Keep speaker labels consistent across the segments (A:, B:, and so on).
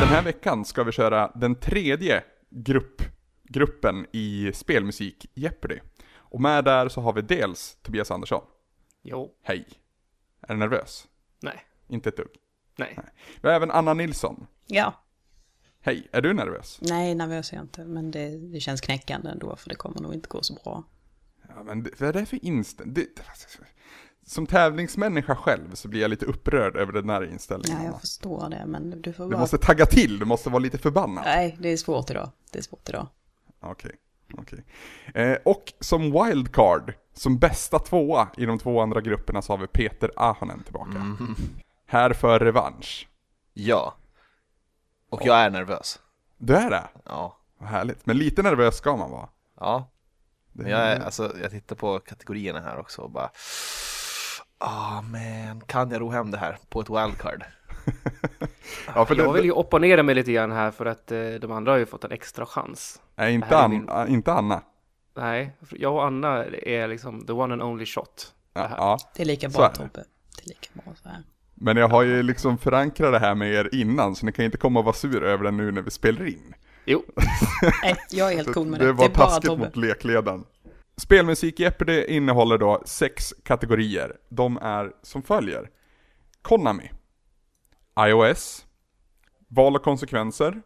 A: Den här veckan ska vi köra den tredje grupp, gruppen i spelmusik Jeopardy. Och med där så har vi dels Tobias Andersson.
B: Jo,
A: Hej! Är du nervös?
B: nej,
A: Inte ett dugg.
B: nej.
A: Vi har även Anna Nilsson.
C: Ja.
A: Hej, är du nervös?
C: Nej, nervös är jag inte, men det, det känns knäckande ändå, för det kommer nog inte gå så bra.
A: Ja, men det, vad är det för inställning? Det, som tävlingsmänniska själv så blir jag lite upprörd över den här inställningen.
C: Ja,
A: Anna.
C: jag förstår det, men du får
A: Du
C: vara...
A: måste tagga till, du måste vara lite förbannad.
C: Nej, det är svårt idag. Det är svårt idag.
A: Okej, okej. Eh, och som wildcard, som bästa tvåa i de två andra grupperna så har vi Peter Ahonen tillbaka.
B: Mm.
A: Här för revansch.
D: Ja. Och jag är nervös.
A: Du är det?
D: Ja.
A: Vad härligt. Men lite nervös ska man vara.
D: Ja.
A: Det
D: Men jag, är, alltså, jag tittar på kategorierna här också och bara... Ah men, kan jag ro hem det här på ett wildcard?
A: ja, för
B: Jag
A: det,
B: vill ju opponera mig lite grann här för att eh, de andra har ju fått en extra chans.
A: nej,
B: det
A: inte,
B: här är
A: An,
B: min-
A: ah, inte Anna.
B: Nej, för jag och Anna är liksom the one and only shot.
A: Ja,
B: Det här.
A: ja.
C: Det är lika
A: Så är
C: bra,
A: det.
C: Tobbe. Det är lika bra så här.
A: Men jag har ju liksom förankrat det här med er innan, så ni kan ju inte komma och vara sur över det nu när vi spelar in.
B: Jo,
C: Nej, jag är helt cool med det.
A: Det var
C: det är bara
A: taskigt
C: Tobbe.
A: mot lekledaren. Spelmusik Jeopardy innehåller då sex kategorier. De är som följer. Konami. iOS. Val och konsekvenser.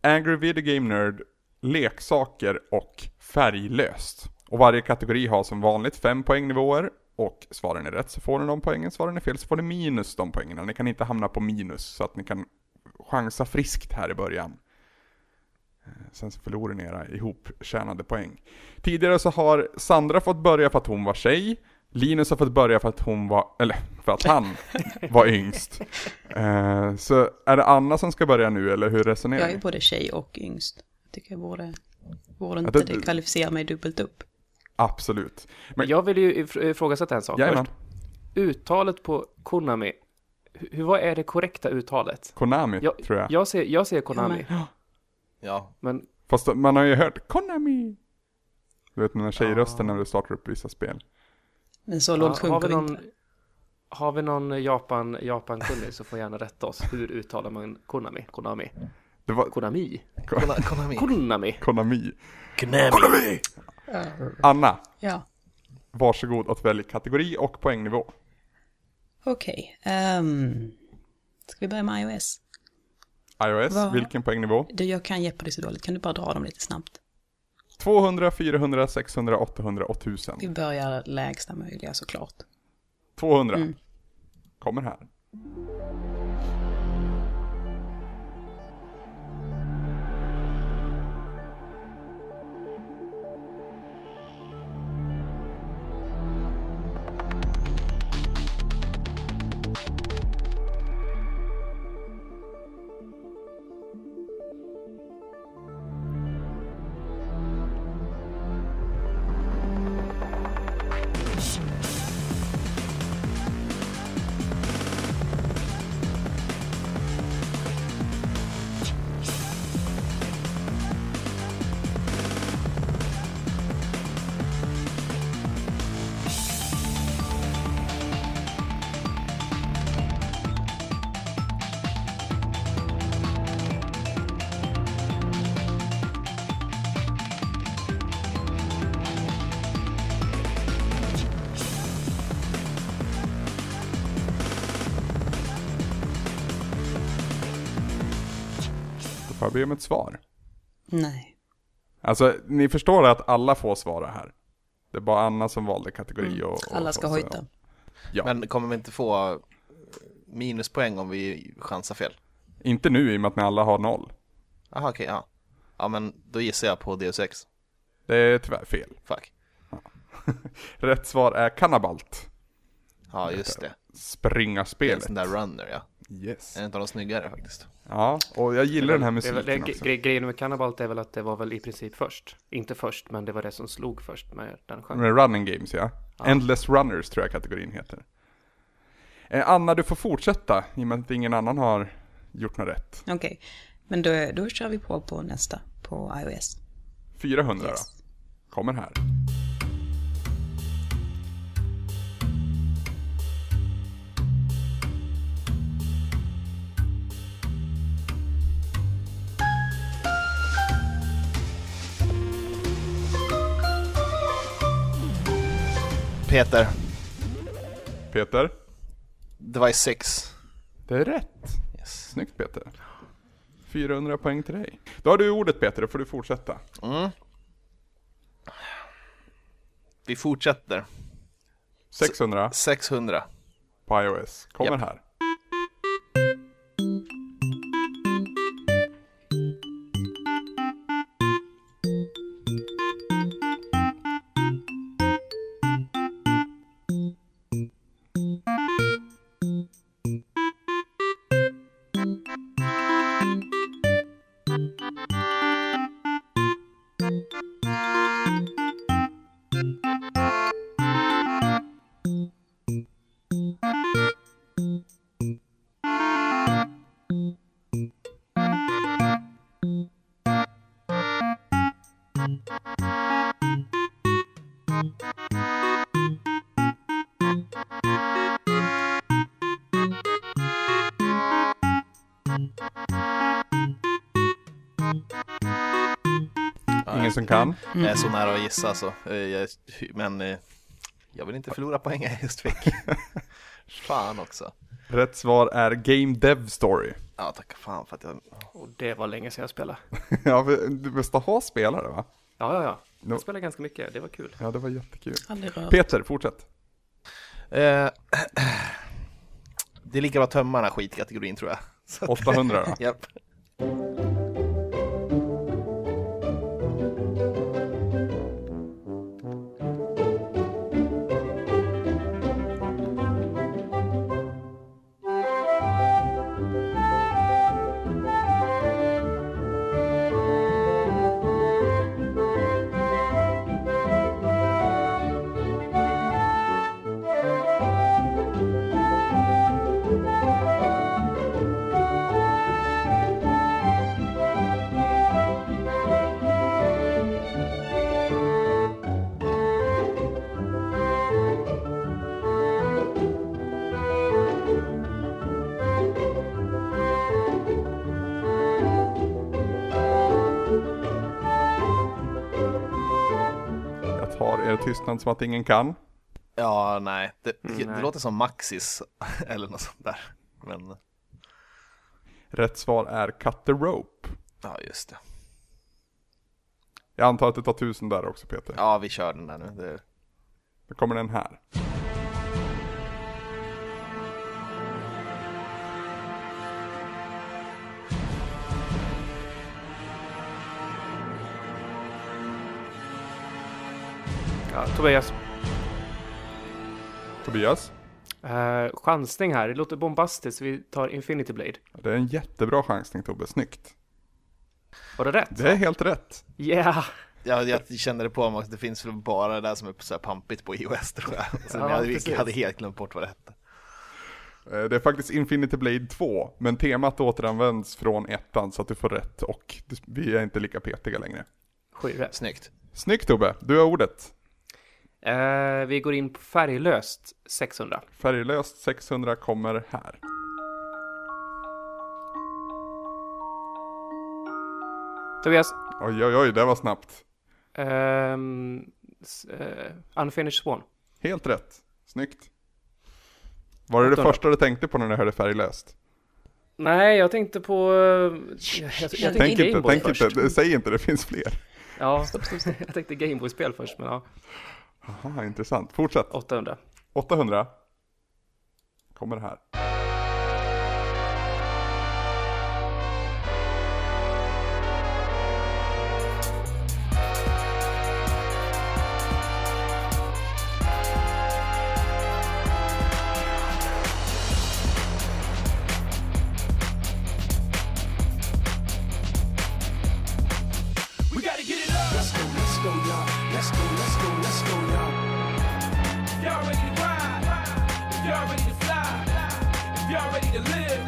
A: Angry Video Game Nerd. Leksaker och färglöst. Och varje kategori har som vanligt fem poängnivåer. Och svarar ni rätt så får ni de poängen, svarar ni fel så får ni minus de poängen. Ni kan inte hamna på minus så att ni kan chansa friskt här i början. Eh, Sen så förlorar ni era ihoptjänade poäng. Tidigare så har Sandra fått börja för att hon var tjej. Linus har fått börja för att hon var, eller för att han var yngst. Eh, så är det Anna som ska börja nu eller hur resonerar
C: Jag är
A: ni?
C: både tjej och yngst. Jag tycker jag borde... Borde
A: Ja,
C: inte
A: det-
C: det kvalificera mig dubbelt upp?
A: Absolut. Men-
B: jag vill ju if- ifrågasätta en sak
A: Jajamän,
B: först. Uttalet på Konami, hu- hur, vad är det korrekta uttalet?
A: Konami
B: Jag,
A: tror jag.
B: jag, ser, jag ser Konami,
D: Ja.
B: men
A: Fast man har ju hört Konami. Du vet den där tjejrösten när du startar upp vissa spel.
C: Men så
B: ja,
C: långt
B: har vi
C: sjunker vi
B: någon...
C: inte.
B: Har vi någon Japan, Japan-kunnig så får gärna rätta oss. Hur uttalar man Konami? Konami?
A: Det var
B: Konami?
D: Kolla, kolla min.
B: Konami?
A: Konami.
D: Konami.
A: Anna,
C: Ja,
A: varsågod att välja kategori och poängnivå.
C: okej. Ehm, ska vi börja med iOS?
A: iOS,
C: Vad?
A: vilken poängnivå?
C: Du, jag kan Jeopardy så dåligt. Kan du bara dra dem lite snabbt?
A: 200, 400, 600, 800 och 1000.
C: Vi börjar lägsta möjliga såklart.
A: 200. Kommer här. Då får jag be om ett svar.
C: Nej.
A: Alltså, ni förstår att alla får svara här. Det är bara Anna som valde kategori och, och
C: Mm. Alla ska
A: så-
C: hojta.
D: Men kommer vi inte få eh, minuspoäng om vi chansar fel?
A: Inte nu i och med att ni alla har noll.
D: Jaha, okej, ja. Ja, men då gissar jag på Deus Ex.
A: Det är tyvärr fel.
D: Fuck.
A: Rätt svar är kannabalt.
D: Ja, just det. Det är en
A: Springarspelet.
D: sån där runner, ja.
A: Yes.
D: En av de snyggare faktiskt.
A: Ja, och jag gillar den här
B: Det är väl-
A: musiken
B: det,
A: också.
B: gre- Grejen med Cannabalt är väl att det var väl i princip först. Inte först, men det var det som slog först med den genren.
A: Med running games ja. Endless runners tror jag kategorin heter. Eh, Anna, du får fortsätta i och med att ingen annan har gjort något rätt.
C: Okej. Men då, då kör vi på på nästa, på iOS.
A: 400
C: Yes.
A: då. Kommer här.
D: Peter.
A: Peter?
D: Device 6.
A: Det är rätt.
D: Yes.
A: Snyggt Peter. 400 poäng till dig. Då har du ordet Peter, då får du fortsätta.
D: Vi fortsätter.
A: 600
D: 600.
A: på iOS. Kommer
D: Japp.
A: här. Ingen som kan.
B: Mm.
D: Jag är så nära att gissa alltså. Eh, jag- Men eh, jag vill inte förlora poäng jag just fick. fan också.
A: Rätt svar är Game Dev Story.
D: Ja, tacka fan för att jag...
B: Och det var länge sedan jag spelade.
A: ja, för du måste ha spelare va?
B: Ja, ja, ja. Jag
A: No.
B: spelade ganska mycket. Det var kul.
A: Ja, det var jättekul.
C: Aldrig rört.
A: Peter, fortsätt.
D: Eh, det är lika bra att tömma den här skitkategorin tror jag. Så att-
A: 800 då.
D: Japp.
A: Jag tar er tystnad som att ingen kan.
D: Ja, nej. Det, det,
B: Mm, nej.
D: det låter som Maxis eller något sånt där. Men
A: Rätt svar är Cut the Rope.
D: ja, just det.
A: Jag antar att du tar 1000 där också Peter.
D: Ja, vi kör den där nu. Det,
A: Då kommer den här.
B: Ja, Tobias,
A: Tobias?
B: eh, chansning här. Det låter bombastiskt. Vi tar Infinity Blade.
A: Det är en jättebra chansning Tobbe, snyggt.
B: Var det rätt?
A: Det är helt rätt.
B: Yeah!
D: jag, jag kände det på mig att det finns väl bara det där som är så här pampigt på iOS tror jag. Så
B: Ja,
D: jag, hade,
B: precis.
D: jag hade helt glömt bort vad det hette.
A: Eh, Det är faktiskt Infinity Blade 2, men temat återanvänds från ettan så att du får rätt och du- vi är inte lika petiga längre.
B: Sju rätt.
D: Snyggt.
A: Snyggt Tobbe, du har ordet.
B: Eh, vi går in på färglöst 600.
A: Färglöst 600 kommer här.
B: Tobias,
A: Oj oj oj, det var snabbt.
B: ehm, s- eh, Unfinished Swan.
A: Helt rätt. Snyggt. Var det det
B: 800.
A: första du tänkte på när du hörde färglöst?
B: Nej, jag tänkte på... eh, Jag, jag,
C: Tänk
B: jag tänkte
A: Tänk inte,
B: Gameboy
A: tänk
B: först.
A: inte, säg inte, det finns fler.
B: Ja, jag tänkte Gameboy-spel först, men ja.
A: Aha, intressant. Fortsätt.
B: 800.
A: 800. Kommer här.
E: We gotta get it up. Let's go, let's go, y'all. Let's go, let's go, let's go, y'all. Y'all ready to ride? If y'all ready to fly? If y'all ready to live?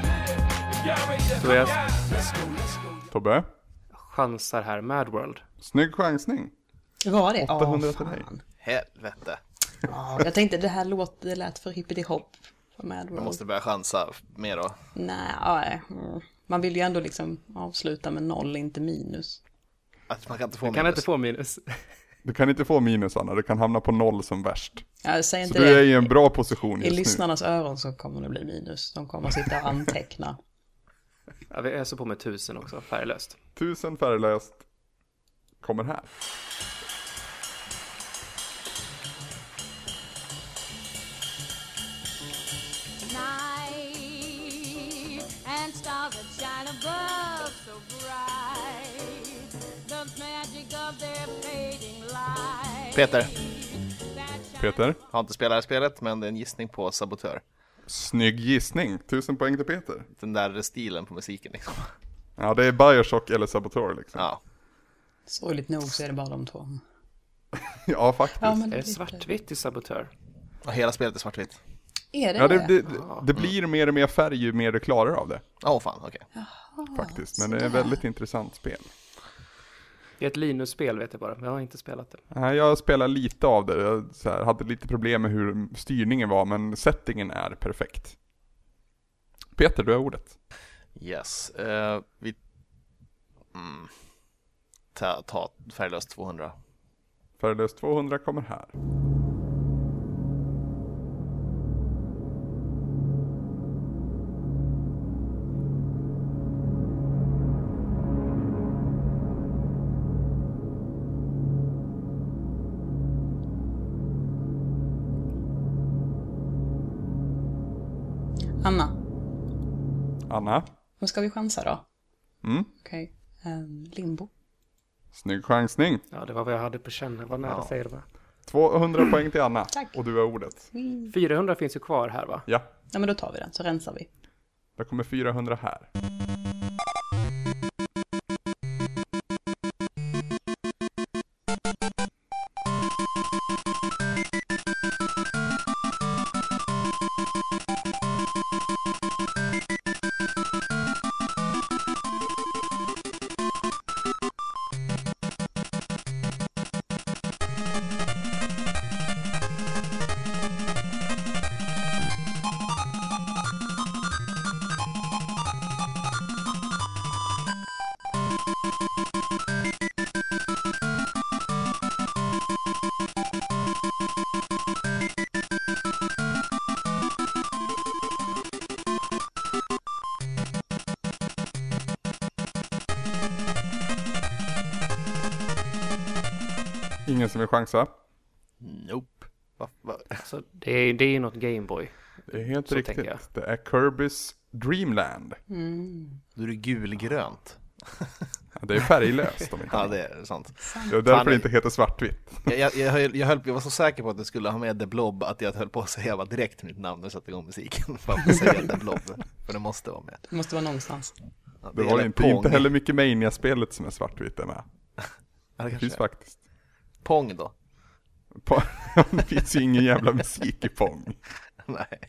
E: If y'all ready to
B: Tobias.
E: die? Let's go, let's go.
A: Tobbe,
B: Chansar här, Mad World.
A: snygg chansning.
C: Var det?
A: 800
C: Åh,
A: till dig.
C: fan.
D: Helvete.
C: Ja, jag tänkte det här låt, det lät för hippity-hopp. För Mad
D: Jag
C: World.
D: måste börja chansa mer då.
C: Nej, ja, nej. Mm. Man vill ju ändå liksom avsluta med noll, inte minus.
D: Att man kan inte få
B: Kan
D: minus.
B: inte få minus.
A: Du kan inte få minus Anna, du kan hamna på noll som värst.
C: Ja, säg
A: Så
C: inte
A: du
C: det.
A: är i en bra position
C: I
A: just nu.
C: lyssnarnas öron så kommer det bli minus. De kommer sitta och anteckna.
B: Ja, vi öser på med tusen också, färglöst.
A: Tusen färglöst kommer här.
F: night and stars that shine above so bright. The magic of their fading light.
D: Peter,
F: That shines
A: Peter,
D: har inte spelat det här spelet, men det är en gissning på Sabotör.
A: snygg gissning. Tusen poäng till Peter.
D: Den där stilen på musiken liksom.
A: Ja, det är Bioshock eller Saboteur liksom.
D: Ja.
C: Sorgligt nog så är det bara de två.
A: Ja, faktiskt.
C: Ja, men
B: Är det
C: lite.
B: svartvitt i Sabotör?
D: Och hela spelet är svartvitt.
C: Är det
A: Ja, det,
C: det?
A: det, det blir mer och mer färg ju mer du klarar av det,
D: Åh fan, okej.
A: faktiskt. Men det är ett väldigt intressant spel.
B: Det är ett Linus-spel vet jag bara, men jag har inte spelat det.
A: Nej, Jag spelar lite av det, jag så här, hade lite problem med hur styrningen var, men settingen är perfekt. Peter, du har ordet.
D: Yes. eh, vi... Mm. Ta, ta färglös 200.
A: Färglös 200 kommer här.
C: Anna,
A: Anna,
C: nu ska vi chansa då.
A: Mm.
C: Okej. Ehm, limbo.
A: snygg chansning.
B: Ja, det var vad jag hade på känn. Jag var nära
D: Ja.
B: säger det bara.
A: 200 poäng till Anna.
C: Tack.
A: Och du har ordet.
B: 400 finns ju kvar här va?
A: Ja,
C: Ja, men då tar vi den så rensar vi.
A: där kommer 400 här. Ingen som vill chansa.
D: Nope. Va, va?
B: Så det är ju det är ju något Gameboy.
A: Det är helt
B: Så tänker jag.
A: riktigt. Det är Kirbys Dreamland.
C: Mm.
D: Då är det gulgrönt.
A: Ja, Det är färglöst om inte
D: Ja,
A: annat.
D: det är sant.
A: Det är därför
D: Fan,
A: det inte heter svartvitt.
D: Jag, jag, jag, höll, jag, höll, jag var så säker på att du skulle ha med The Blob att jag höll på att säga bara direkt mitt namn när jag satte igång musiken. För att säga The Blob. För det måste vara med.
C: Det måste vara någonstans.
D: Ja,
A: Det
D: är
A: var
D: jävla
A: inte,
D: Pong.
A: inte heller mycket Mania-spelet som är svartvitt det med.
D: Ja, det
A: Det
D: kanske
A: finns
D: är.
A: faktiskt.
D: Pong då?
A: Pa- det finns ju ingen jävla musik i Pong.
D: Nej.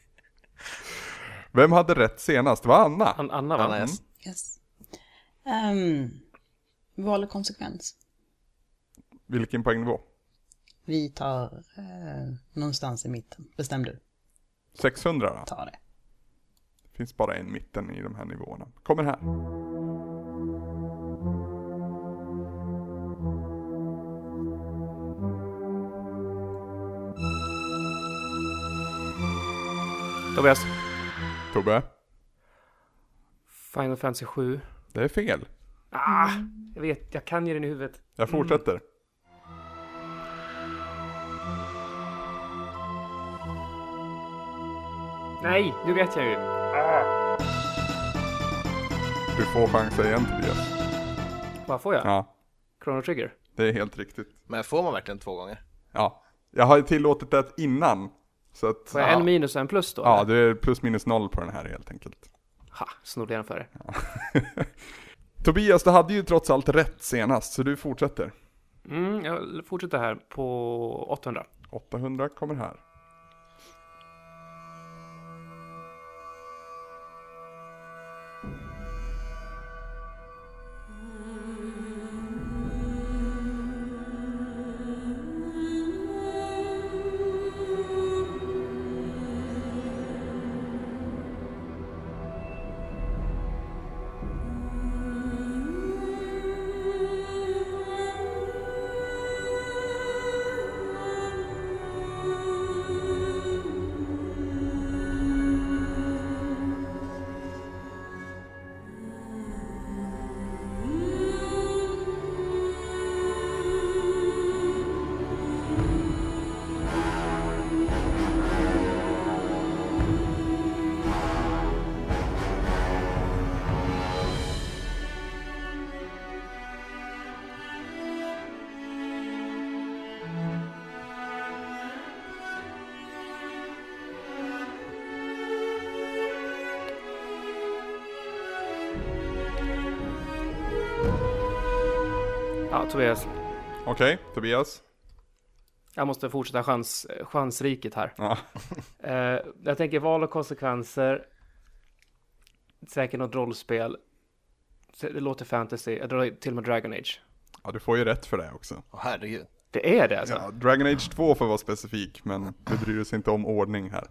A: Vem hade rätt senast? Det var Anna.
B: An Anna va?
D: Anna S.
A: Mm.
C: Yes. Um, val och konsekvens.
A: Vilken poängnivå?
C: Vi tar eh, någonstans i mitten. Bestäm du.
A: 600 då?
C: Ta det.
A: Det finns bara en mitten i de här nivåerna. Kommer här.
B: Tobias.
A: Tobbe?
B: Final Fantasy 7.
A: Det är fel.
B: Ah, jag vet, jag kan ju den i huvudet.
A: Jag fortsätter.
B: Nej, nu vet jag ju.
A: Du får chansa igen Tobias.
B: Vad får jag?
A: Ja,
B: Chrono Trigger?
A: det är helt riktigt.
D: Men får man verkligen två gånger?
A: Ja, jag har ju tillåtit det innan. Så att,
B: Får jag en minus och en plus då?
A: ja,
B: eller?
A: det är plus minus noll på den här helt enkelt.
B: Ha, snodde jag den för dig.
A: Tobias, du hade ju trots allt rätt senast, så du fortsätter.
B: Mm, jag fortsätter här på 800.
A: 800 kommer här.
B: Ja, Tobias.
A: Okej, Tobias.
B: Jag måste fortsätta chans, chansriket här.
A: Ja.
B: Eh, jag tänker val och konsekvenser. Säkert något rollspel. Så Det låter fantasy. Jag drar till och med Dragon Age.
A: ja, du får ju rätt för det också.
D: Åh, herregud.
B: Det är det alltså?
A: Ja, Dragon Age 2 för att vara specifik, men vi bryr oss inte om ordning här.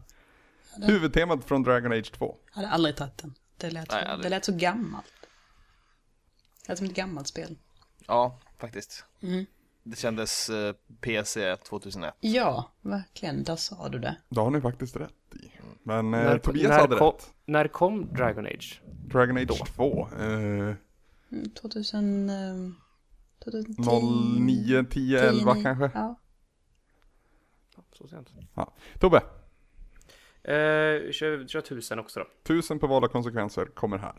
A: Huvudtemat från Dragon Age 2.
C: Jag hade aldrig tagit den. Det lät,
D: Nej, aldrig.
C: det lät så gammalt. Det lät som ett gammalt spel.
D: Ja, faktiskt. Det kändes eh, PC 2001.
C: Ja, verkligen. Där sa du det.
A: Det har ni faktiskt rätt i. Men eh,
B: När-
A: Tobias
B: när
A: hade
B: kom,
A: rätt.
B: När kom Dragon Age?
A: Dragon Age 2. Eh,
C: Mm, 2000... eh, 2010,
A: 09, 10, 11 kanske.
C: Ja.
B: Så sent.
A: Ja. Tobbe,
B: Eh, kör, kör tusen också då.
A: 1000 på valda konsekvenser kommer här.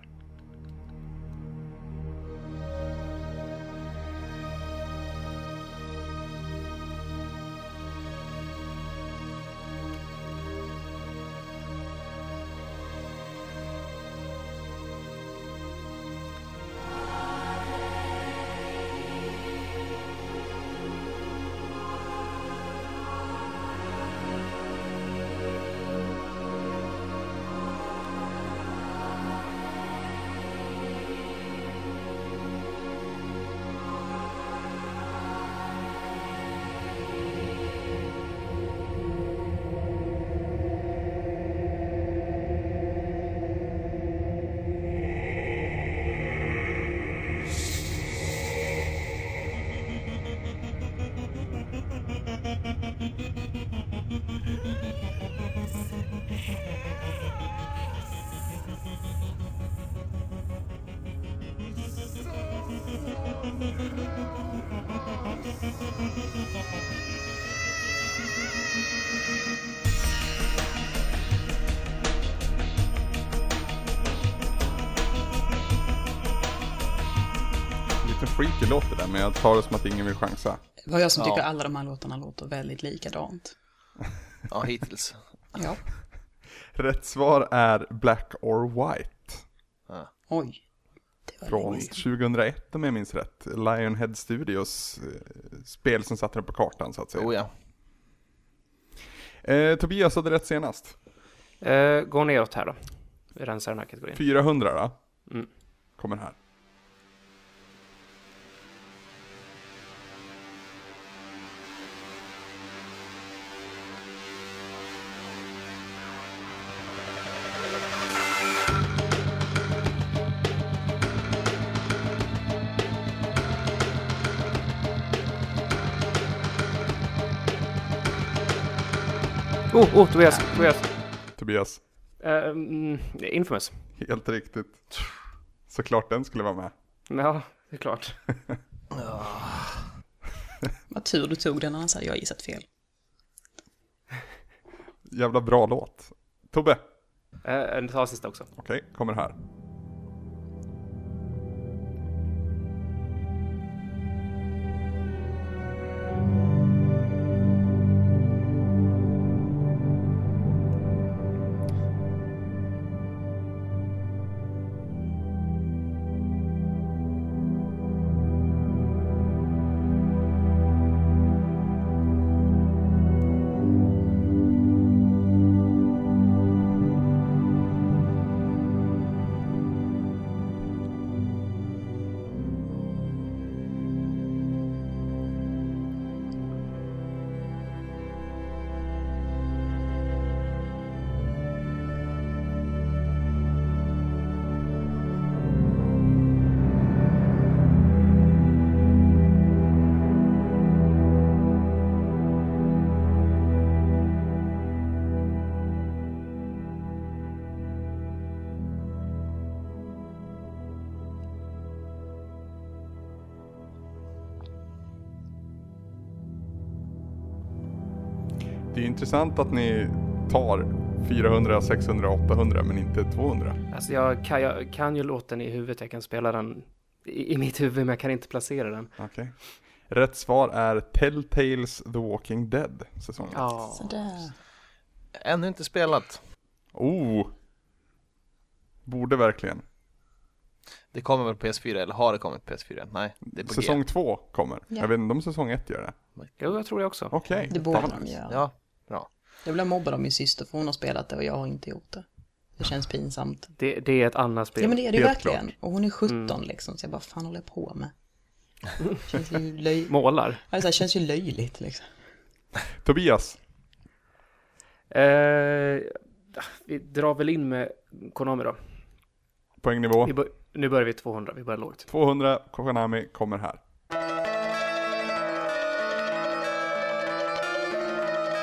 A: Lite freaky låter det, men jag tar det som att ingen vill chansa.
C: Det var jag som
D: Ja.
C: tycker alla de här låtarna låter väldigt likadant.
D: Ja, hittills.
C: Ja.
A: Rätt svar är Black or White.
C: Oj. Det var
A: Från
C: länge sedan.
A: 2001 om jag minns rätt. Lionhead Studios eh, spel som satte den på kartan så att säga.
D: Oh, ja.
A: eh, Tobias hade rätt senast.
B: Eh, gå neråt här då. Vi rensar den här kategorin.
A: 400 då.
B: Mm.
A: Kommer här.
B: Oh, oh, Tobias, Tobias.
A: Tobias,
B: Eh, mm, infamous.
A: helt riktigt. Såklart den skulle vara med.
B: Ja, det är klart.
C: Vad tur du tog den, annars hade jag gissat fel.
A: Jävla bra låt. Tobbe,
B: Eh, ta sista också.
A: okej, kommer här. Det är intressant att ni tar 400, 600, 800 men inte 200.
B: Alltså jag kan, jag kan ju låten i huvudet, jag kan spela den i, i mitt huvud, men jag kan inte placera den.
A: Okej. Rätt svar är Telltales The Walking Dead, säsong ett.
B: Ja,
C: Sådär.
D: Ännu inte spelat.
A: Oh! Borde verkligen.
D: Det kommer väl på PS4 eller har det kommit på PS4? Nej, det är på
A: Säsong
D: G.
A: två kommer.
C: Ja.
A: Jag vet inte om säsong ett gör det.
B: Jo, jag tror det också.
A: Okej.
C: Det
A: fan
C: borde
A: vad
C: de
A: nice.
C: göra.
D: Ja, bra.
C: Jag blev mobbad av min syster för hon har spelat det och jag har inte gjort det. Det känns pinsamt.
B: Det, det är ett annat spel.
C: Ja men det är det ju
A: Helt
C: verkligen. Och hon är 17 liksom, så jag bara, fan håller jag på med? Känns ju löj...
B: Målar.
C: alltså, det känns ju löjligt liksom.
A: Tobias,
B: Eh, vi drar väl in med Konami då.
A: poängnivå.
B: Vi bör, nu börjar vi 200, vi börjar lågt.
A: 200 Konami kommer här.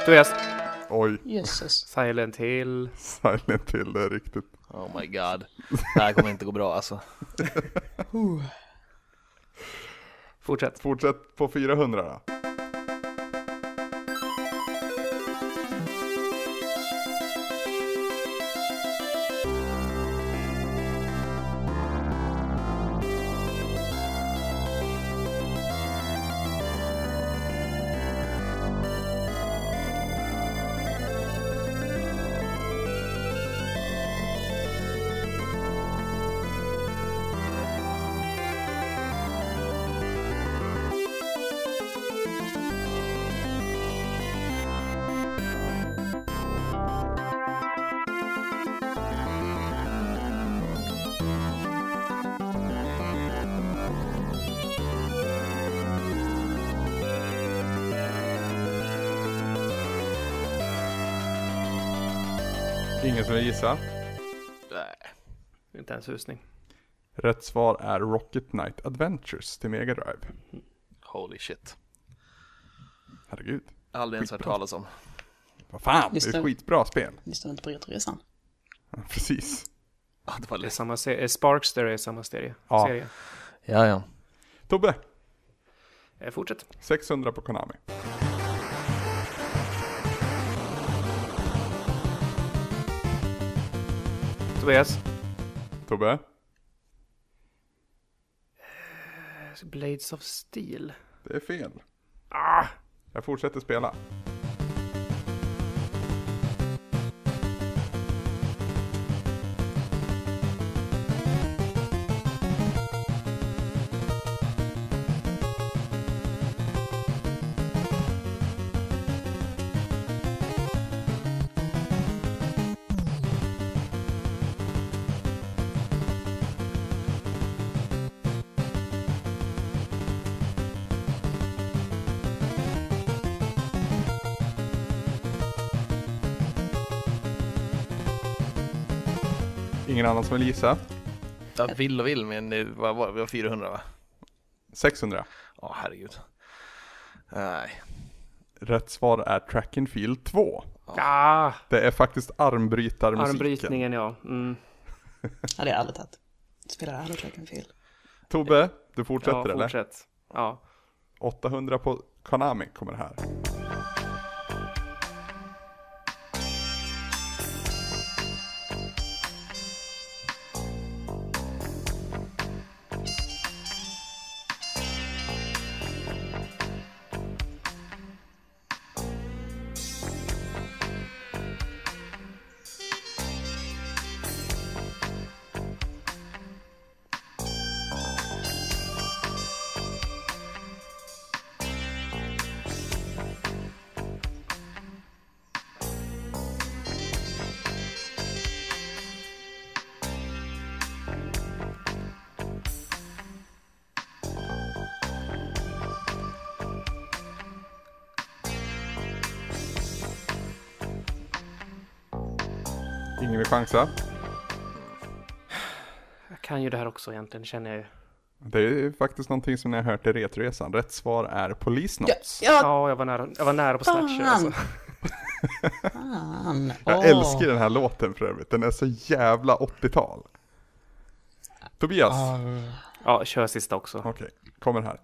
B: Tobias,
A: Oj,
C: Jösses.
B: Silent Hill.
A: silent till det är riktigt.
D: Oh my god. Det här kommer inte gå bra alltså.
B: Fortsätt.
A: Fortsätt på 400 då. Ingen som vill gissa.
D: Nej.
B: Inte ens husning.
A: Rätt svar är Rocket Knight Adventures till Mega Drive.
D: Holy shit.
A: Herregud.
D: Aldrig ens hört talas om.
A: Vad fan, det
C: Just
A: är ett
C: det.
A: skitbra spel.
C: Lyssnar inte på Retroresan?
A: Precis.
D: Ja, det var
B: Det är
D: ledsamt.
B: samma serie. Sparks där är samma serie.
A: Ja.
B: serie.
D: Ja, ja.
A: Tobbe,
B: Eh, fortsätt.
A: 600 på Konami.
B: Tobias,
A: Tobbe,
B: Blades of Steel.
A: det är fel. Ah, Jag fortsätter spela. Ingen annan som vill gissa.
D: Jag vill och vill, men det var, var, vi var 400 va?
A: 600.
D: Ja, herregud. Nej.
A: Rätt svar är Track and Field 2.
B: Ah,
A: Det är faktiskt armbrytarmusiken.
B: armbrytningen ja. Mm.
C: Ja, det är ärligt att spelar aldrig Track and Field.
A: Tobbe, du fortsätter
B: Ja,
A: eller?
B: fortsätt. Ja.
A: 800 på Konami kommer här. Ingen vill chansa.
B: Jag kan ju det här också egentligen, känner jag ju.
A: Det är faktiskt någonting som ni har hört i Retroresan. Rätt svar är Police Knots.
C: Ja,
B: Ja, jag var nära, jag var nära på slasher alltså.
C: fan! Fan!
A: Jag
C: Åh.
A: älskar den här låten för övrigt. Den är så jävla 80-tal. Tobias,
C: Ah.
B: Ja, kör sista också.
A: okej, kommer här.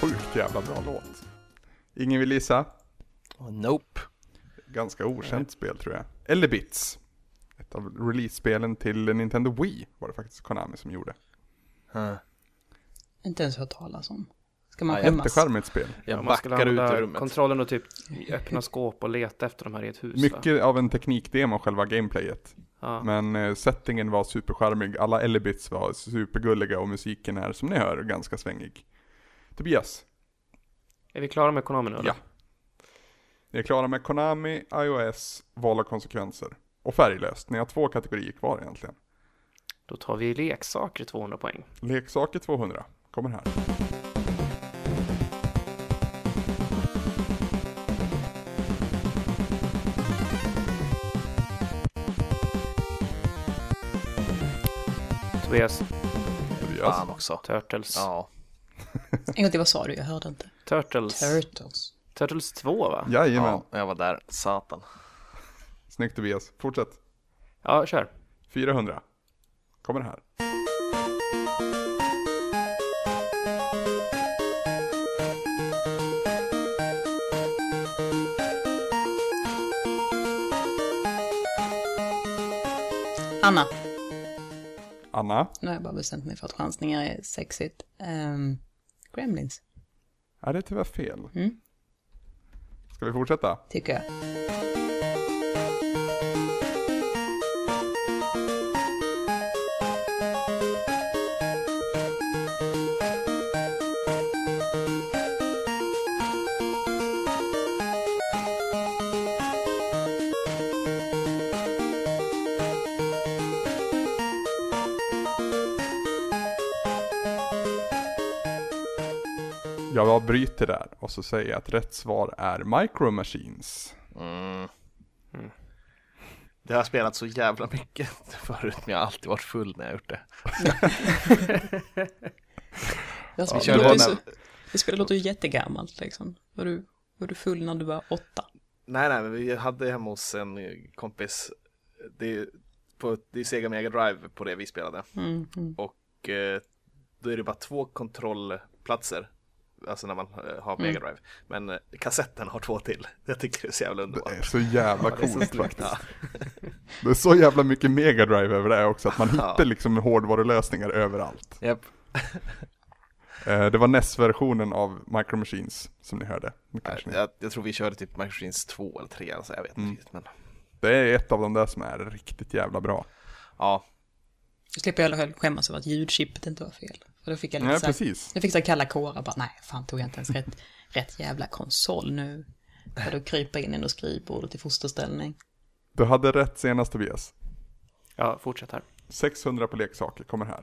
A: Sjukt jävla bra låt. Ingen vill gissa?
D: Och nope.
A: Ganska okänt spel tror jag. Eller Bits. Ett av release-spelen till Nintendo Wii var det faktiskt Konami som gjorde.
D: Huh.
C: Inte ens hört talas om. Ska man
D: Ja,
C: skämmas?
A: Jättecharmigt spel.
D: Jag
B: man skulle
D: backar ut
B: använda
D: ur rummet.
B: kontrollen och typ öppna skåp och leta efter de här i ett hus. Va?
A: Mycket av en teknikdemo själva gameplayet.
B: Ja.
A: Men eh, settingen var superskärmig, alla Elibits var supergulliga och musiken är som ni hör ganska svängig. Tobias,
B: Är vi klara med Konami nu? eller?
A: Ja. ni är klara med Konami, iOS, val och konsekvenser. Och färglöst, ni har två kategorier kvar egentligen.
B: Då tar vi leksaker 200 poäng.
A: Leksaker 200 kommer här.
B: Tobias,
A: Tobias,
D: Fan också.
B: Turtles.
D: Ja.
C: En gång till, vad sa du? Jag hörde inte.
B: Turtles.
C: Turtles.
B: Turtles 2 va?
A: jajamän.
D: ja, jag var där. Satan.
A: Snyggt Tobias, fortsätt.
B: Ja, kör.
A: 400 kommer här.
C: Anna.
A: Anna,
C: Nu har jag bara bestämt mig för att chansningar är sexigt. Ehm, Gremlins,
A: är det tyvärr fel?
C: Mm.
A: Ska vi fortsätta?
C: tycker jag.
A: Jag bara bryter där och så säger jag att rätt svar är Micro Machines.
D: Mm. Det har spelat så jävla mycket förut, men jag har alltid varit full när jag har gjort det.
C: Jag
D: Vi
C: spelar,
D: körde
C: det, låter ju så,
D: den-
C: det spelar låter ju jättegammalt liksom. Var du, var du full när du var åtta?
D: Nej, nej, men vi hade hemma hos en kompis. Det är, på, det är Sega Mega Drive på det vi spelade.
C: Mm, mm.
D: Och eh, då är det bara två kontrollplatser. Alltså när man eh, har Mega Drive. Men eh, kassetten har två till. Jag tycker det är så jävla
A: Det är
D: underbart.
A: så jävla
D: Det är så
A: coolt
D: snyggt.
A: faktiskt. Det är så jävla mycket Mega Drive över det här också, att man
D: Ja.
A: hittar liksom hårdvarulösningar överallt.
D: Ja. Japp.
A: Eh, Det var NES-versionen av Micro Machines som ni hörde. Det kanske ni-
D: Jag, jag tror vi körde typ Machines 2 eller 3, alltså, jag vet inte riktigt. Men
A: Det är ett av de där som är riktigt jävla bra.
D: ja,
C: Då slipper jag i alla fall skämmas över att ljudchippet inte var fel. För då fick jag lite
A: Nej,
C: så här,
A: precis.
C: Jag fick så här kalla kårar bara, nej, fan tog jag inte ens rätt, rätt jävla konsol nu. För då krypa in under skrivbordet i fosterställning.
A: Du hade rätt senast Tobias.
B: Ja, fortsätt här.
A: 600 på leksaker kommer här.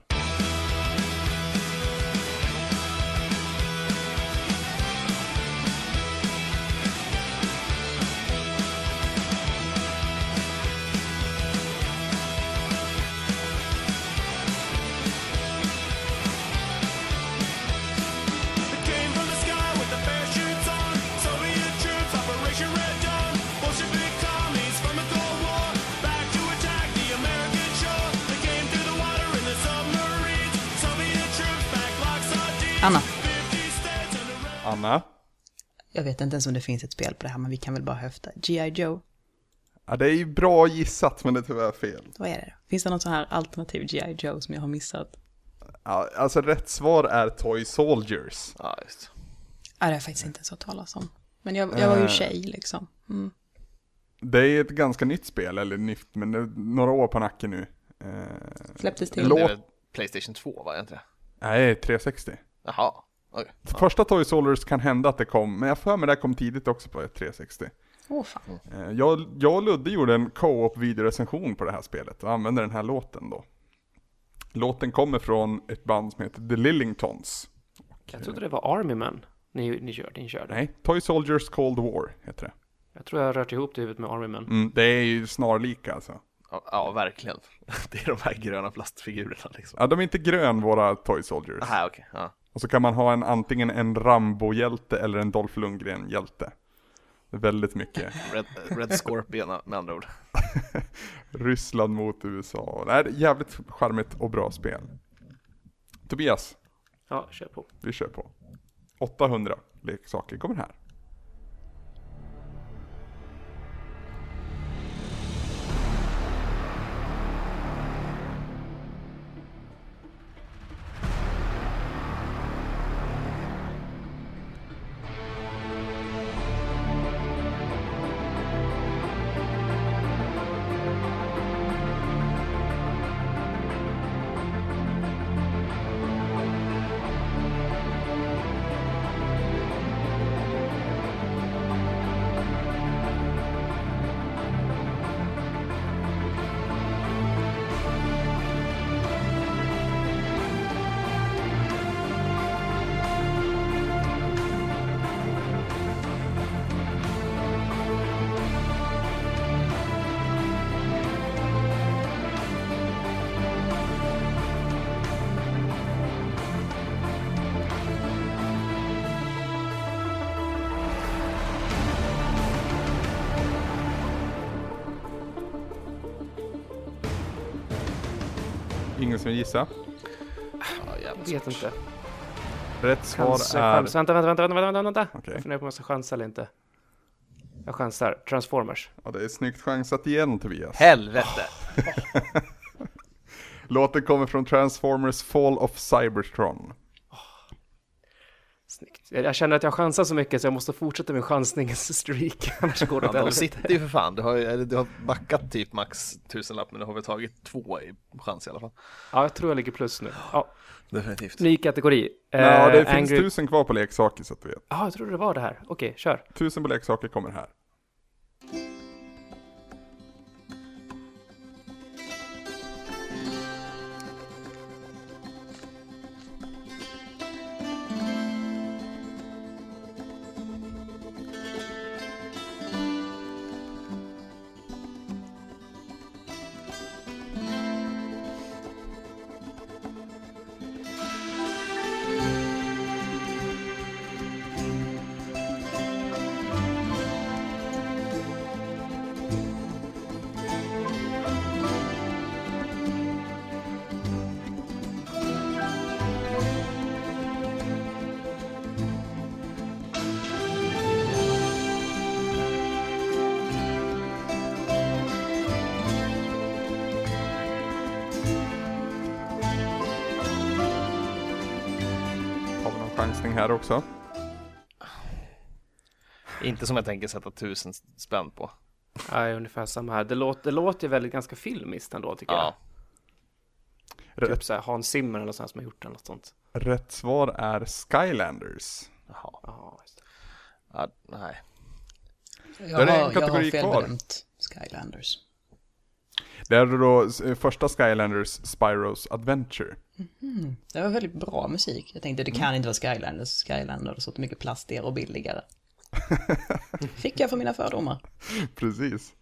E: It came from the sky with the parachutes on. Soviet troops, Operation Red Dawn. Bolshevik commies from the Cold War. Back to attack the American shore. They came through the water in the submarines. Soviet troops back like sardines.
C: Anna,
E: 50 states and the red.
A: Anna,
C: jag vet inte ens om det finns ett spel på det här, men vi kan väl bara höfta. G.I. Joe,
A: ja, det är ju bra gissat men det är tyvärr fel.
C: vad är det? Finns det något så här alternativ G.I. Joe som jag har missat?
A: Ja, Alltså rätt svar är Toy Soldiers.
D: ja just.
C: Ja, det har jag faktiskt inte ens hört talas om. Men jag, jag var ju
A: Eh.
C: tjej liksom. Mm.
A: Det är ett ganska nytt spel, eller nytt, men det är några år på nacken nu. Eh,
C: Släpptes till.
A: Låt-
D: Det är väl Playstation 2, var det inte det?
A: nej, 360.
D: Jaha. Okej.
A: Första Toy Soldiers kan hända att det kom, men jag har för mig det här kom tidigt också på 360.
C: Åh fan.
A: Eh, Jag, jag och Ludde gjorde en co-op videorecension på det här spelet och använde den här låten då. Låten kommer från ett band som heter The Lillingtons.
B: Jag trodde det var Army Man ni, ni körde. Ni körde.
A: Nej, Toy Soldiers Cold War heter det.
B: Jag tror jag har rört ihop det i huvudet med Army Man.
A: Mm, det är ju snarlika alltså.
D: Ja, ja, verkligen. Det är de här gröna plastfigurerna liksom.
A: Ja, de är inte grön våra Toy Soldiers.
D: Aha, okej. Ja.
A: Och så kan man ha en antingen en Rambo-hjälte eller en Dolph Lundgren-hjälte. Det är Väldigt mycket.
D: Red, Red Scorpion med andra ord.
A: Ryssland mot USA. Det är jävligt charmigt och bra spel. Tobias,
B: Ja, kör på.
A: vi kör på. 800 leksaker kommer här. Ingen som gissar.
B: Vet inte.
A: Rätt svar
B: Chansa,
A: är...
B: chansa. Vänta, vänta, vänta, vänta, vänta, vänta.
A: Okej.
B: Jag funderar på om jag ska chansa eller inte. Jag chansar. Transformers.
A: Ja, det är snyggt chansat igen Tobias.
D: Helvete!
A: Låten kommer från Transformers Fall of Cybertron.
B: Snyggt. Jag, jag känner att jag chansar så mycket så jag måste fortsätta min chansningsstreak. Annars går det
D: Ja,
B: åt
D: de
B: helvete.
D: sitter ju för fan. Du har, ju- eller, du har backat typ max tusenlapp men du har väl tagit två i chans i alla fall.
B: Ja, jag tror jag ligger plus nu. Ja,
D: Definitivt.
B: ny kategori.
A: ja, det
B: Eh,
A: finns
B: Angry-
A: tusen kvar på leksaker så att du vet.
B: Ja, jag trodde det var det här. Okej, kör.
A: Tusen på leksaker kommer här. Har vi någon chansning här också?
D: Inte som jag tänker sätta tusen spänn på.
B: Ja, ungefär samma här. Det, låter det låter ju väldigt ganska filmiskt ändå tycker
D: Ja.
B: jag.
A: Rätt,
B: Typ så här Hans Zimmer eller något sånt som har gjort den. Något sånt.
A: rätt svar är Skylanders.
D: Jaha.
B: Ja, just det.
D: Ja, nej.
A: är
C: Jag
A: det en
C: har, jag har
A: kategori kvar.
C: felbedömt Skylanders.
A: Det är då eh, första Skylanders Spyros Adventure.
C: Det var väldigt bra musik. Jag tänkte det kan inte vara Skylanders. Skylanders har så mycket plastigare och billigare. Fick jag för mina fördomar.
A: Precis.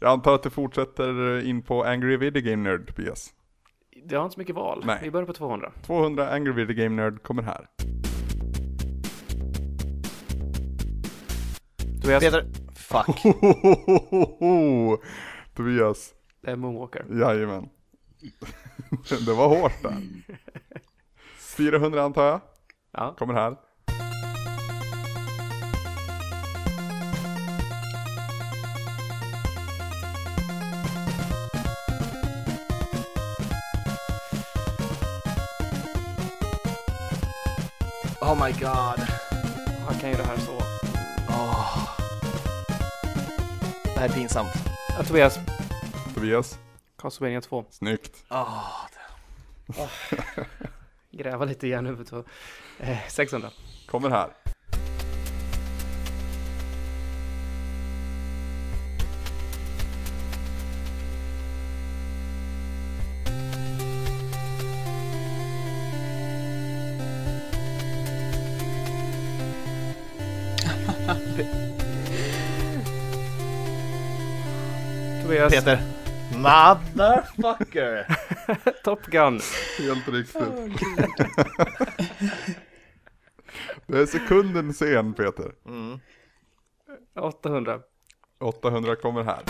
A: Jag antar att det fortsätter in på Angry Video Game Nerd, Tobias.
B: Det har inte så mycket val.
A: Nej.
B: Vi börjar på 200.
A: 200 Angry Video Game Nerd kommer här.
B: Tobias,
D: Peter! Fuck.
A: Hohohoho! Tobias,
B: det är eh, Moonwalker.
A: jajamän. Det var hårt där. 400 antar jag,
B: Ja,
A: kommer här.
D: Oh my god.
B: han kan ju det här så.
D: Åh. Det här är pinsamt.
B: Ja, Tobias,
A: Tobias,
B: Castlevania 2.
A: snyggt.
D: Åh, det-
B: Gräva lite igen huvudet. och- Eh, 600.
A: Kommer här.
B: Tobias,
D: Peter! Motherfucker!
B: Top Gun.
A: Helt riktigt. Det är sekunden sen Peter.
B: 800.
A: 800 kommer här.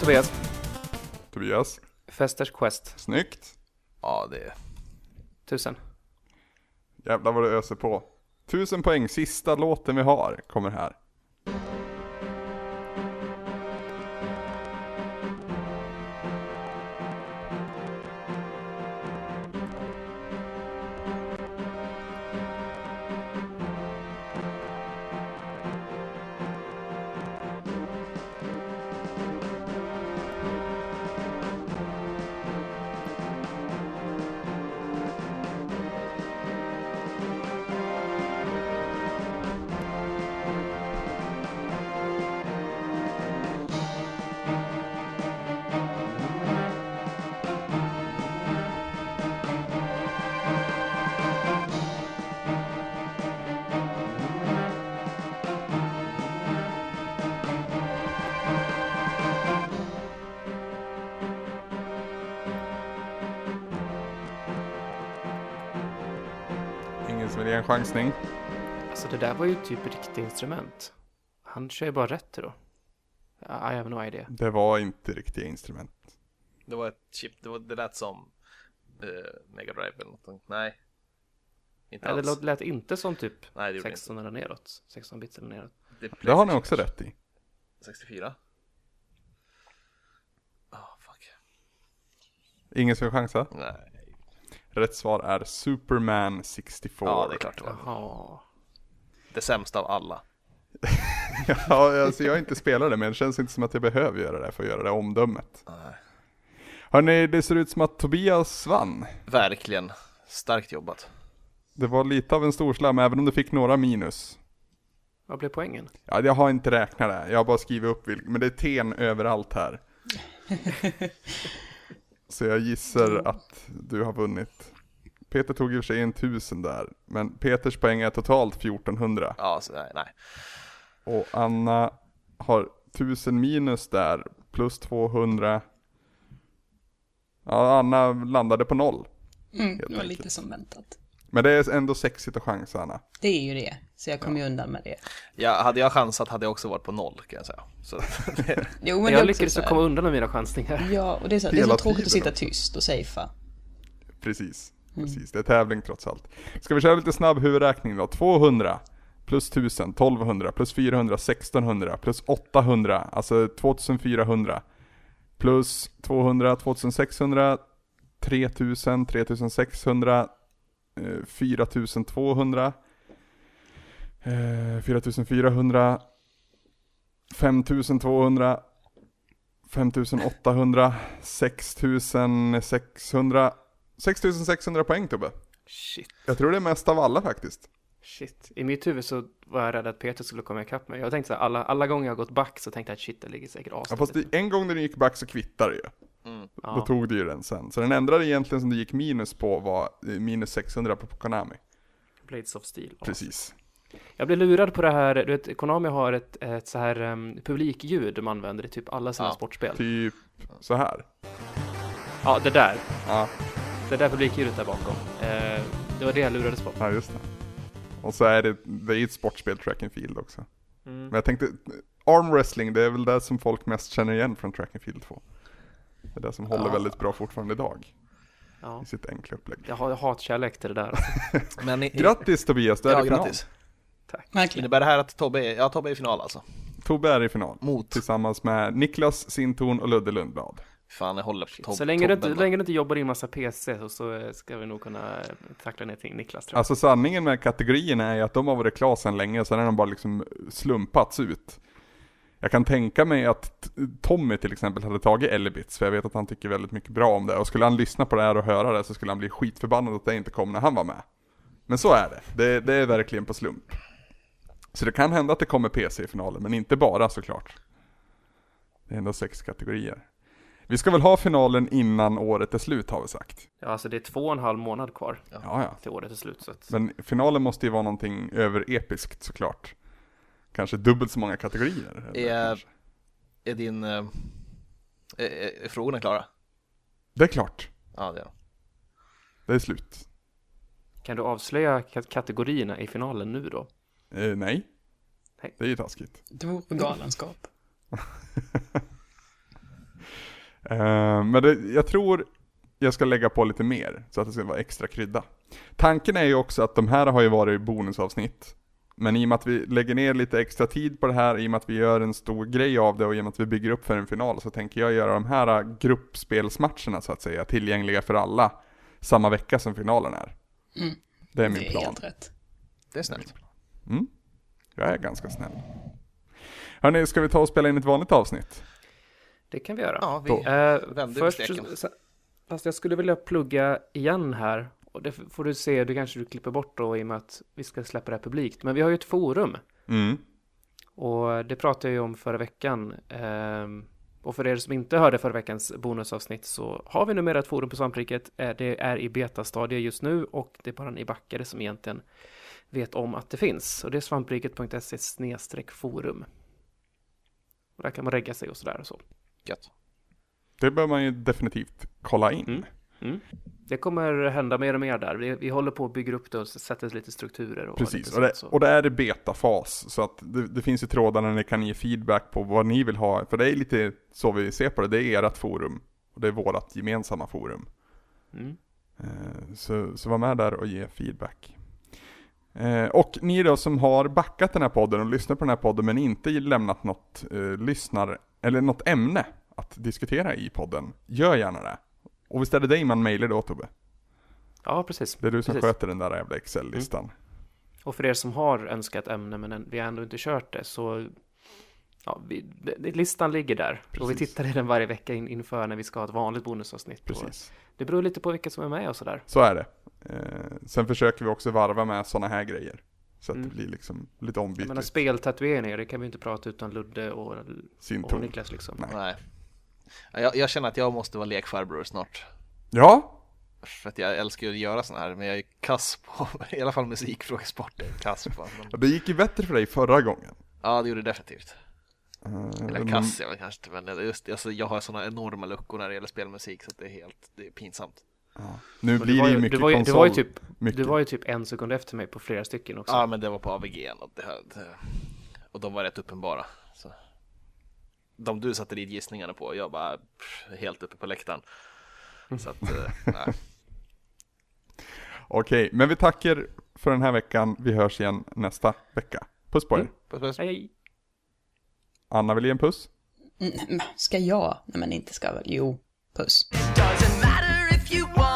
B: Tobias.
A: Tobias.
B: Festers Quest.
A: Snyggt.
D: Ja, det...
B: Tusen.
A: Jävlar vad du öser på. Tusen poäng, sista låten vi har kommer här. Ingen som vill ge en chansning.
B: Alltså det där var ju typ ett riktigt instrument. Han kör ju bara rätt då. I have no idea.
A: Det var inte riktiga instrument.
D: Det var ett chip, det, var, det lät som eh, Mega Drive eller någonting. Nej. Inte
B: Nej, det
D: alls.
B: låt- lät inte som typ
D: Nej, det gjorde
B: 16 eller neråt. 16 bits eller neråt.
D: inte. är
A: Det har ni
D: PlayStation
A: också rätt i.
D: 64. Ah, fuck.
A: Ingen som vill chansa?
D: Nej.
A: Rätt svar är Superman 64.
D: Ja, det är klart det var.
B: Jaha.
D: Det sämsta av alla.
A: ja, alltså jag är inte spelare men det känns inte som att jag behöver göra det för att göra det omdömet. Hörni, det ser ut som att Tobias vann.
D: Verkligen. Starkt jobbat.
A: Det var lite av en storslam även om du fick några minus.
B: Vad blev poängen?
A: Ja, jag har inte räknat det, jag har bara skrivit upp vilka, men det är ten överallt här. Så jag gissar att du har vunnit. Peter tog i och för sig en tusen där, men Peters poäng är totalt 1400.
D: Ja, så, nej, nej.
A: Och Anna har 1000 minus där, plus 200. Ja, Anna landade på noll.
C: Mm, det var
A: enkelt.
C: lite som väntat.
A: Men det är ändå sexigt att chansa Anna.
C: Det är ju det, så jag kom ju undan med det.
D: Ja, hade jag chansat hade jag också varit på noll kan jag säga. Så,
C: Jo, men det är
B: Jag
C: också
B: lyckades
C: så här-
B: komma undan med mina chansningar.
C: Ja, och det är så, det är så
A: Hela
C: tråkigt att
A: tiden.
C: sitta tyst och safea.
A: Precis, precis. Det är tävling trots allt. Ska vi köra lite snabb huvudräkning då? 200 plus 1000, 1200 plus 400, 1600 plus 800, alltså 2400. Plus 200, 2600, 3000, 3600, eh, 4200, eh, 4400, 5200, 5800, 6600, 6600 poäng Tobbe.
B: Shit,
A: Jag tror det är mest av alla faktiskt.
B: shit. I mitt huvud så var jag rädd att Peter skulle komma ikapp mig. Jag tänkte så här, alla, alla gånger jag har gått back så tänkte jag att shit, det ligger säkert
A: Ja,
B: avstånd.
A: fast det, en gång när du gick back så kvittade det ju. Då
B: ja.
A: tog du ju den sen. Så den enda egentligen som du gick minus på var eh, minus 600 på Konami.
B: Blades of Steel. Ja.
A: Precis.
B: Jag blev lurad på det här, du vet, Konami har ett, ett så här um, publikljud de använder i typ alla sina
D: Ja.
B: sportspel.
A: Typ så här.
B: Ja, det där.
A: Ja,
B: Det där publikljudet där bakom. Eh, det var det jag lurades på.
A: ja just det. Och så är det, det är ju ett sportspel track and field också.
B: Mm.
A: Men jag tänkte, eh, arm wrestling det är väl det som folk mest känner igen från track and field 2. Det är det som håller
B: Ja.
A: väldigt bra fortfarande idag.
B: Ja.
A: I sitt enkla upplägg.
B: Jag har jag har hatkärlek till det där.
D: men i,
A: Grattis Tobias, du är
D: ja,
A: i final.
D: grattis.
C: Verkligen.
D: Innebär det här att Tobbe är, ja, Tobbe är i final alltså?
A: Tobbe är i final.
D: Mot.
A: Tillsammans med Niklas Sintorn och Ludde Lundblad.
D: Fan, jag håller på Tobbe.
B: så länge du, inte,
D: Tobben.
B: länge du inte jobbar in massa PC så, så eh, ska vi nog kunna eh, tackla ner till Niklas tror jag.
A: Alltså sanningen med kategorierna är ju att de har varit klara sedan länge, sen har de bara liksom slumpats ut. Jag kan tänka mig att t- Tommy till exempel hade tagit Elbits, för jag vet att han tycker väldigt mycket bra om det. Och skulle han lyssna på det här och höra det så skulle han bli skitförbannad att det inte kom när han var med. Men så är det, det, det är verkligen på slump. Så det kan hända att det kommer PC i finalen, men inte bara såklart. Det är ändå sex kategorier. Vi ska väl ha finalen innan året är slut har vi sagt.
B: Ja, alltså det är två och en halv månad kvar
A: Ja, ja.
B: till året är slut. Så att,
A: Men finalen måste ju vara någonting överepiskt såklart. Kanske dubbelt så många kategorier. eller
D: Är-
A: kanske.
D: Är din... eh, Är, är, är frågorna klara?
A: Det är klart,
D: Ja, det är de.
A: det är slut.
B: kan du avslöja ka- kategorierna i finalen nu då?
A: Eh, nej.
B: Nej.
A: det är ju taskigt.
C: Det vore galenskap.
A: Eh, men det, jag tror jag ska lägga på lite mer, så att det ska vara extra krydda. Tanken är ju också att de här har ju varit bonusavsnitt. Men i och med att vi lägger ner lite extra tid på det här, i och med att vi gör en stor grej av det och i och med att vi bygger upp för en final så tänker jag göra de här eh, gruppspelsmatcherna så att säga tillgängliga för alla samma vecka som finalen är. Det är min
C: Mm. det är
A: plan.
C: helt rätt.
D: Det är snällt.
A: Jag är ganska snäll. Hörni, ska vi ta och spela in ett vanligt avsnitt?
B: Det kan vi göra.
D: Ja, vi
A: Då.
B: Eh,
D: vänder
B: först,
D: först... steken.
B: så- fast jag skulle vilja plugga igen här. Och det får du se, du kanske du klipper bort då i och med att vi ska släppa det här publikt. Men vi har ju ett forum.
A: Mm.
B: Och det pratade jag ju om förra veckan. Ehm, Och för er som inte hörde förra veckans bonusavsnitt så har vi numera ett forum på Svampriket. Eh, Det är i betastadie just nu och det är bara ni backare som egentligen vet om att det finns. Och det är svampriket.se snedstreck forum. Och där kan man regga sig och sådär och så.
D: Gött.
A: Det bör man ju definitivt kolla in.
B: Mm. Det kommer hända mer och mer där. Vi, vi håller på och bygger upp det och sätter lite strukturer. Och
A: Precis,
B: lite
A: och det,
B: sånt, så.
A: och det är i betafas, så att det, det finns ju trådar där ni kan ge feedback på vad ni vill ha, för det är lite så vi ser på det, det är ert forum, och det är vårt gemensamma forum.
B: Mm.
A: Eh, Så, så var med där och ge feedback. Eh, Och ni då som har backat den här podden och lyssnat på den här podden men inte lämnat något, eh, lyssnar, eller något ämne att diskutera i podden, gör gärna det. Och visst är det dig man mejlar då Tobbe?
B: Ja, precis.
A: Det är du som
B: Precis. Mm.
A: sköter den där jävla Excel-listan.
B: Och för er som har önskat ämne men än- vi har ändå inte kört det så ja, vi, det- det- listan ligger där. Och vi
A: Precis.
B: tittar i den varje vecka in, inför när vi ska ha ett vanligt bonusavsnitt. Och
A: Precis.
B: Det beror lite på vilka som är med och sådär.
A: Så är det. Eh, sen försöker vi också varva med sådana här grejer. Så att
B: Mm.
A: det blir liksom lite
B: Jag menar
A: ombytligt.
B: speltatueringar, det kan vi inte prata utan Ludde och,
A: Sin
B: och
A: ton.
B: Niklas liksom.
A: Nej.
D: Nej. Ja, Jag, jag känner att jag måste vara lekfarbror snart.
A: Ja,
D: För att jag älskar ju att göra sådana här, men jag är kass på, i alla fall musikfrågesport är jag kass på. Men,
A: det gick ju bättre för dig förra gången.
D: ja, det gjorde det definitivt.
A: Eh,
D: Eller
A: men-
D: kass jag kanske inte, men just, alltså, jag har sådana enorma luckor när det gäller spelmusik så att det är helt det är pinsamt.
A: Nu
B: Men
A: blir det ju
B: ju-
A: mycket
B: du var ju, du
A: konsol.
B: var ju typ,
A: mycket.
B: Du var ju typ en sekund efter mig på flera stycken också.
D: Ja, men det var på AVG och, det, det, och de var rätt uppenbara. Så. De du satte dit gissningarna på, jag bara pff, helt uppe på läktaren. Så att, eh, nej.
A: Okej, men vi tackar för den här veckan. Vi hörs igen nästa vecka. Puss på er.
B: Mm.
D: Puss, puss.
B: Hej, hej.
A: Anna vill ge en puss.
C: Mm, ska jag? Nej men inte ska väl. Jo, puss.
G: Doesn't matter if you want